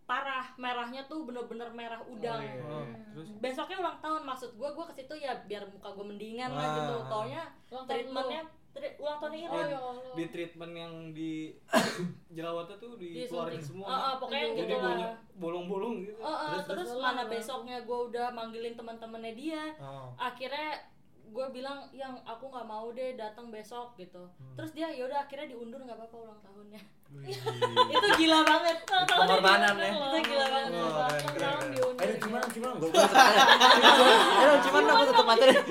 parah merahnya tuh bener-bener merah udang Oh, iya. besoknya ulang tahun maksud gue gue ke situ ya biar muka gue mendingan lah Ah. gitu taunya Ulang tahun treatmentnya iya. tri- ulang tahunnya Oh, hilang ya Allah. Di treatment yang di jerawatnya tuh dikeluarin Disuntik. semua. Ah, ah, pokoknya Jadi gitu Jadi lah bolong- bolong-bolong gitu. Oh, oh, Terus, terus, terus? mana besoknya gue udah manggilin teman-temannya dia Oh. akhirnya gue bilang yang aku nggak mau deh datang besok gitu terus dia yaudah akhirnya diundur nggak apa-apa ulang tahunnya itu gila banget Ulang tahunnya Iya. Pengorbanan diundang ya. loh. Itu gila banget. Ulang tahun diundang. Eh, cuman cuman gua gua tutup aja. Eh, cuman aku tutup aja. deh. Iya.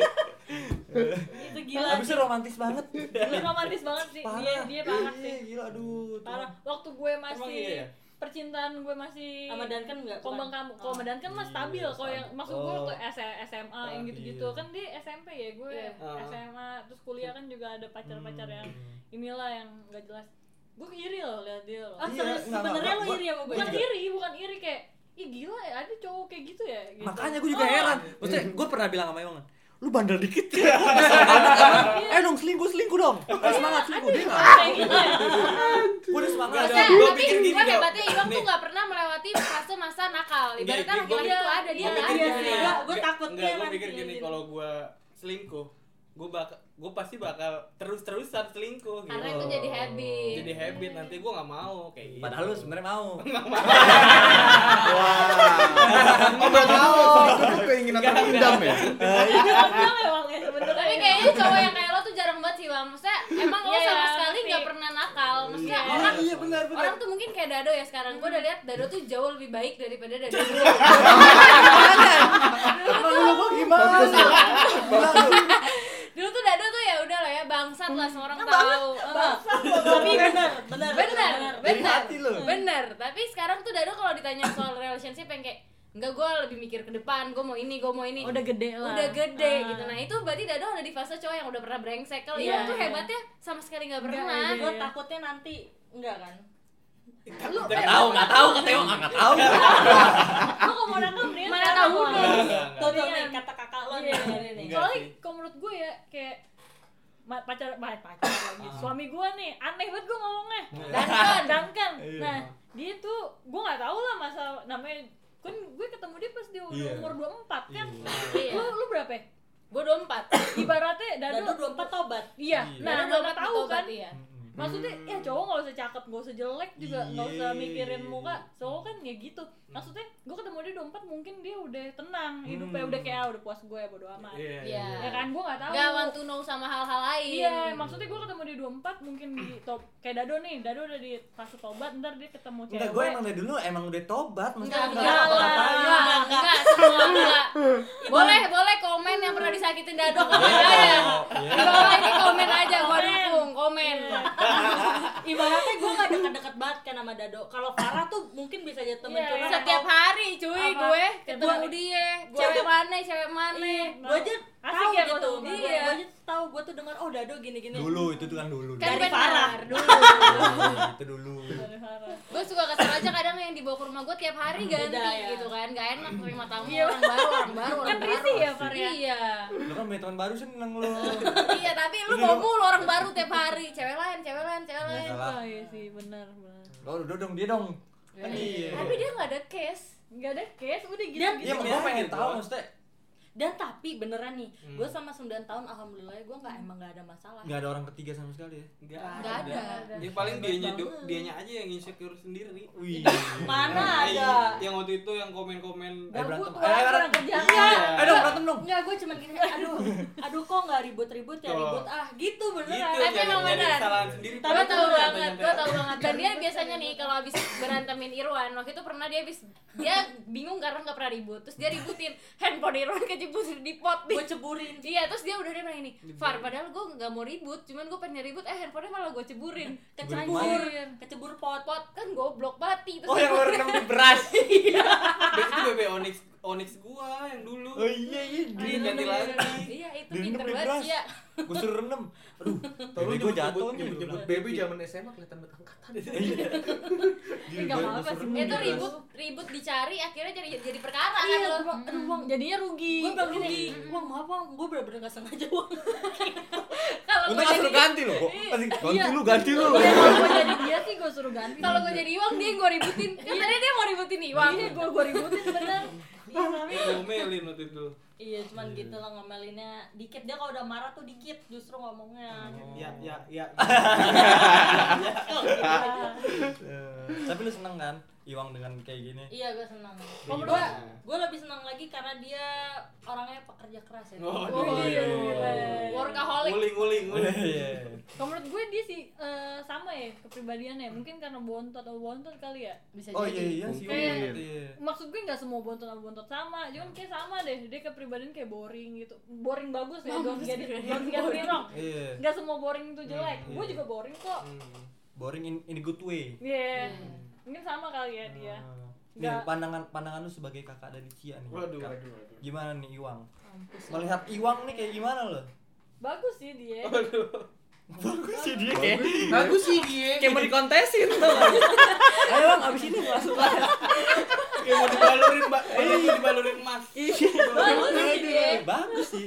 Itu gila. Habisnya romantis banget. Lu romantis banget sih. Dia dia parah sih. Iya, gila aduh. Parah. Waktu gue Emang masih iya ya? percintaan gue masih sama Dan kan nggak Kombang kamu, bukan? Ah. kalau Medan kan mah Iya, stabil. Kalau yang stabil. maksud gue Oh. waktu S- SMA yang Ah, gitu-gitu iya. kan di SMP ya gue Iya. Ah. SMA terus kuliah kan juga ada pacar-pacar yang Hmm. inilah yang gak jelas. Gue iri loh lihat dia loh. ah, Iya, serius, nggak, sebenarnya nggak, Iya. lo gua- iri sama gue bukan iri, bukan iri kayak Ih gila ya, ada cowok kayak gitu ya gitu. Makanya gue juga heran. Iya. Maksudnya gue pernah bilang sama Iwang, lu bandel dikit ya. eh dong selingkuh selingkuh dong. Iya. Eh, semangat selingkuh dia nggak. Kayak gitu Iya, ya. Gue udah semangat. Maksudnya, Gua tapi pikir gini, gue Jok. hebatnya Iwang tuh gak pernah melewati fase masa nakal. Ibaratnya Gini, gua laki-laki tuh ada, dia Iya, gak iya ada. sih. Gua- gua takutnya Enggak, gue nanti pikir gini, gitu. kalau gue selingkuh, gue bakal gue pasti bakal terus-terusan selingkuh gitu. Karena itu jadi habit. Jadi habit nanti gue nggak mau kayak gitu. Padahal lu sebenarnya mau. Iya. Oh, berarti lu berarti lu keinginan terpendam ya? Eh, iya. Emang emang ya sebenernya. Tapi kayaknya cowok yang kayak lo tuh jarang banget sih, Bang. Maksudnya emang lo Iya, sama iya, sekali ngerti. nggak pernah nakal. Maksudnya Iya. orang iya benar orang tuh mungkin kayak Dado ya sekarang. Gue udah lihat Dado tuh jauh lebih baik daripada Dado dulu. Lu gua gimana? dulu tuh Dado tuh ya udah lah ya bangsat lah semua Nah, orang tahu. Eh, tapi benar benar Bener, Dari bener, hati lu. bener. Tapi sekarang tuh Dado kalau ditanya soal relationship yang kayak Enggak, gue lebih mikir ke depan, gue mau ini, gue mau ini Udah gede lah. Udah gede Ah. gitu Nah itu berarti Dado ada di fase cowok yang udah pernah brengsek Kalau Iya, Iwan tuh iya. hebatnya sama sekali nggak Nggak, pernah iya. gue takutnya nanti enggak kan Gak tau, gak tau, kata Iwang, ah, gak tau. Iya. Lu kok mau nangkep nih? Mana tahu Sekarang, dong. Bang. Enggak, enggak. tuh tuh Iya. nih kata kakak lo lo nih hari ini. Enggak soalnya sih. kalau menurut gue ya kayak ma- pacar ma- pacar lagi Ah. suami gue nih aneh banget gue ngomongnya Nah. Duncan Duncan Iya. nah dia tuh gue nggak tahu lah masa namanya kan gue ketemu dia pas dia udah Iya. umur 24 kan Iya. lu lu berapa ya? Gue udah empat. ibaratnya Dan dadu lu dua empat tobat. iya Iya. nah lu nggak tahu kan Iya. maksudnya Hmm. ya cowok nggak usah cakep nggak usah jelek juga nggak usah Iya. mikirin muka cowok kan ya gitu maksudnya gue ketemu dia 24 mungkin dia udah tenang Hmm. hidupnya udah kayak "Ah, udah puas gue ya bodo amat Iya. Iya. ya kan gue nggak tahu Gak want to know sama hal-hal lain. Iya, maksudnya gue ketemu di 24 mungkin di top kayak Dado nih, Dado udah di fase tobat, ntar dia ketemu cewek. Enggak, gue emang dari dulu emang udah tobat, maksudnya Enggak, enggak enggak, apa enggak, enggak, enggak, semua enggak. Boleh, boleh komen yang pernah disakitin dado Iya, komen aja. Di bawah ini komen aja, gua dukung, komen. Iya, Ibaratnya gue gak dekat-dekat banget kan sama Dado. Kalau Farah tuh mungkin bisa jadi temen Iya, curhat. Setiap hari cuy Apa? gue ketemu Setiap- Iya. dia, Gua- cewek mana, cewek mana. Gue Iya, aja Asik tahu ya kalau gitu. sama Iya. gua. Gue aja tahu. Gue tuh dengar oh Dado gini-gini. Dulu itu tuh kan dulu. Kan Dari Farah. benar dulu. Dulu, itu dulu. Gue suka kesel aja kadang yang dibawa ke rumah gue tiap hari ganti Beda ya. gitu kan. Gak enak terima tamu orang baru, orang baru, orang Iya. Kan baru. risih ya, Far, ya? Iya. Lu kan punya teman baru seneng lu. Iya, tapi lu bawa mulu orang baru tiap hari. Cewek lain, cewek lain, cewek lain. Salah. Oh, iya sih, benar benar. Lo Oh, udah dong dia dong. Kan dia. Tapi dia gak ada case. Enggak ada case, udah gitu. Dan- gitu. Iya, gue pengen tahu maksudnya Dan tapi beneran nih, gue Hmm. sama 9 tahun alhamdulillah gue nggak emang nggak ada masalah. enggak ada orang ketiga sama sekali ya. Enggak Gak ada. Ya paling dianya do- dianya aja yang insecure sendiri. Wih. Mana ada? Yang waktu itu yang komen-komen Eh, Gabut, Iya. berantem. Eh, orang kurang berantem. kerjaan. Eh, dong berantem dong. Enggak, gue cuman gini, aduh, aduh kok nggak ribut-ribut ya Tuh. ribut ah gitu gitu beneran. Tapi jangan emang nyari benar. kesalahan sendiri. Tapi Padahal tahu nyampe- banget, nyampe- gue tahu banget. Dan dia biasanya nih kalau habis berantemin Irwan, waktu itu pernah dia habis dia bingung karena nggak pernah ribut. Terus dia ributin handphone Irwan kejebus di pot di Gue ceburin. Iya, terus dia udah dia bilang ini, Far, padahal gue nggak mau ribut, cuman gue pengen ribut, eh handphonenya malah gue ceburin Iya. Kecebur, kecebur pot. Pot kan goblok mati terus Oh, yang lu rendam di beras. Beb itu bebe Onyx Onyx gua yang dulu. Oh iya iya. Dia ganti lagi. Iya, itu Direndam pinter di banget beras. sih ya Gue suruh rendam. Aduh, Lu tapi gue jatuh nih. Nyebut baby zaman SMA kelihatan banget angkatan. Iya, Eh, nggak apa-apa sih. Itu ribut, ribut dicari, akhirnya jadi jadi perkara kan Iya, lo gua, aduh bang, Jadinya rugi. gue bilang gini, bang maaf bang, gue bener-bener nggak sengaja bang. Kalau Untung gue kan suruh jadi ganti loh, kok. Ganti kan. lu, ganti lu. Iya, kalau gue jadi dia sih gue suruh ganti. kalau gue jadi Iwang, dia yang gue ributin Kan tadi dia mau ributin Iwang Iya, gue gue ributin bener. Iya, tapi Ngomelin waktu itu. Iya, cuman gitu lah ngomelinnya dikit. Dia kalau udah marah tuh dikit justru ngomongnya. Ya ya ya. Oh. Tapi lu seneng kan Iwang dengan kayak gini? Iya, gue senang. Kalau gue, gue lebih senang lagi karena dia orangnya pekerja keras ya. Oh, Waduh. iya, Workaholic Nguling nguling nguling. Iya. kalau menurut gue dia sih eh, sama ya kepribadiannya. Mungkin karena bontot atau bontot kali ya. bisa Oh iya iya sih. Kayak- Iwang ngerti. maksud gue nggak semua bontot sama bontot sama cuman kayak sama deh dia kepribadian kayak boring gitu boring bagus ya don't get it don't get me wrong Iya. nggak semua boring tuh jelek gue juga boring kok Boring in, in a good way. Ah. iya mungkin sama kali ya dia Nih, Nggak- pandangan pandangan lu sebagai kakak dari Cia nih. Waduh Kak. waduh waduh. Gimana nih Iwang? Melihat Iwang nih kayak gimana lo? bagus sih dia Waduh. Bagus sih dia kayak Bagus sih dia. kayak mau dikontesin tuh. Ayo Bang, abis ini masuk lah. Iya, Iya. Kayak mau dibalurin, Mbak. Mau dibalurin emas. Bagus sih dia. Bagus sih.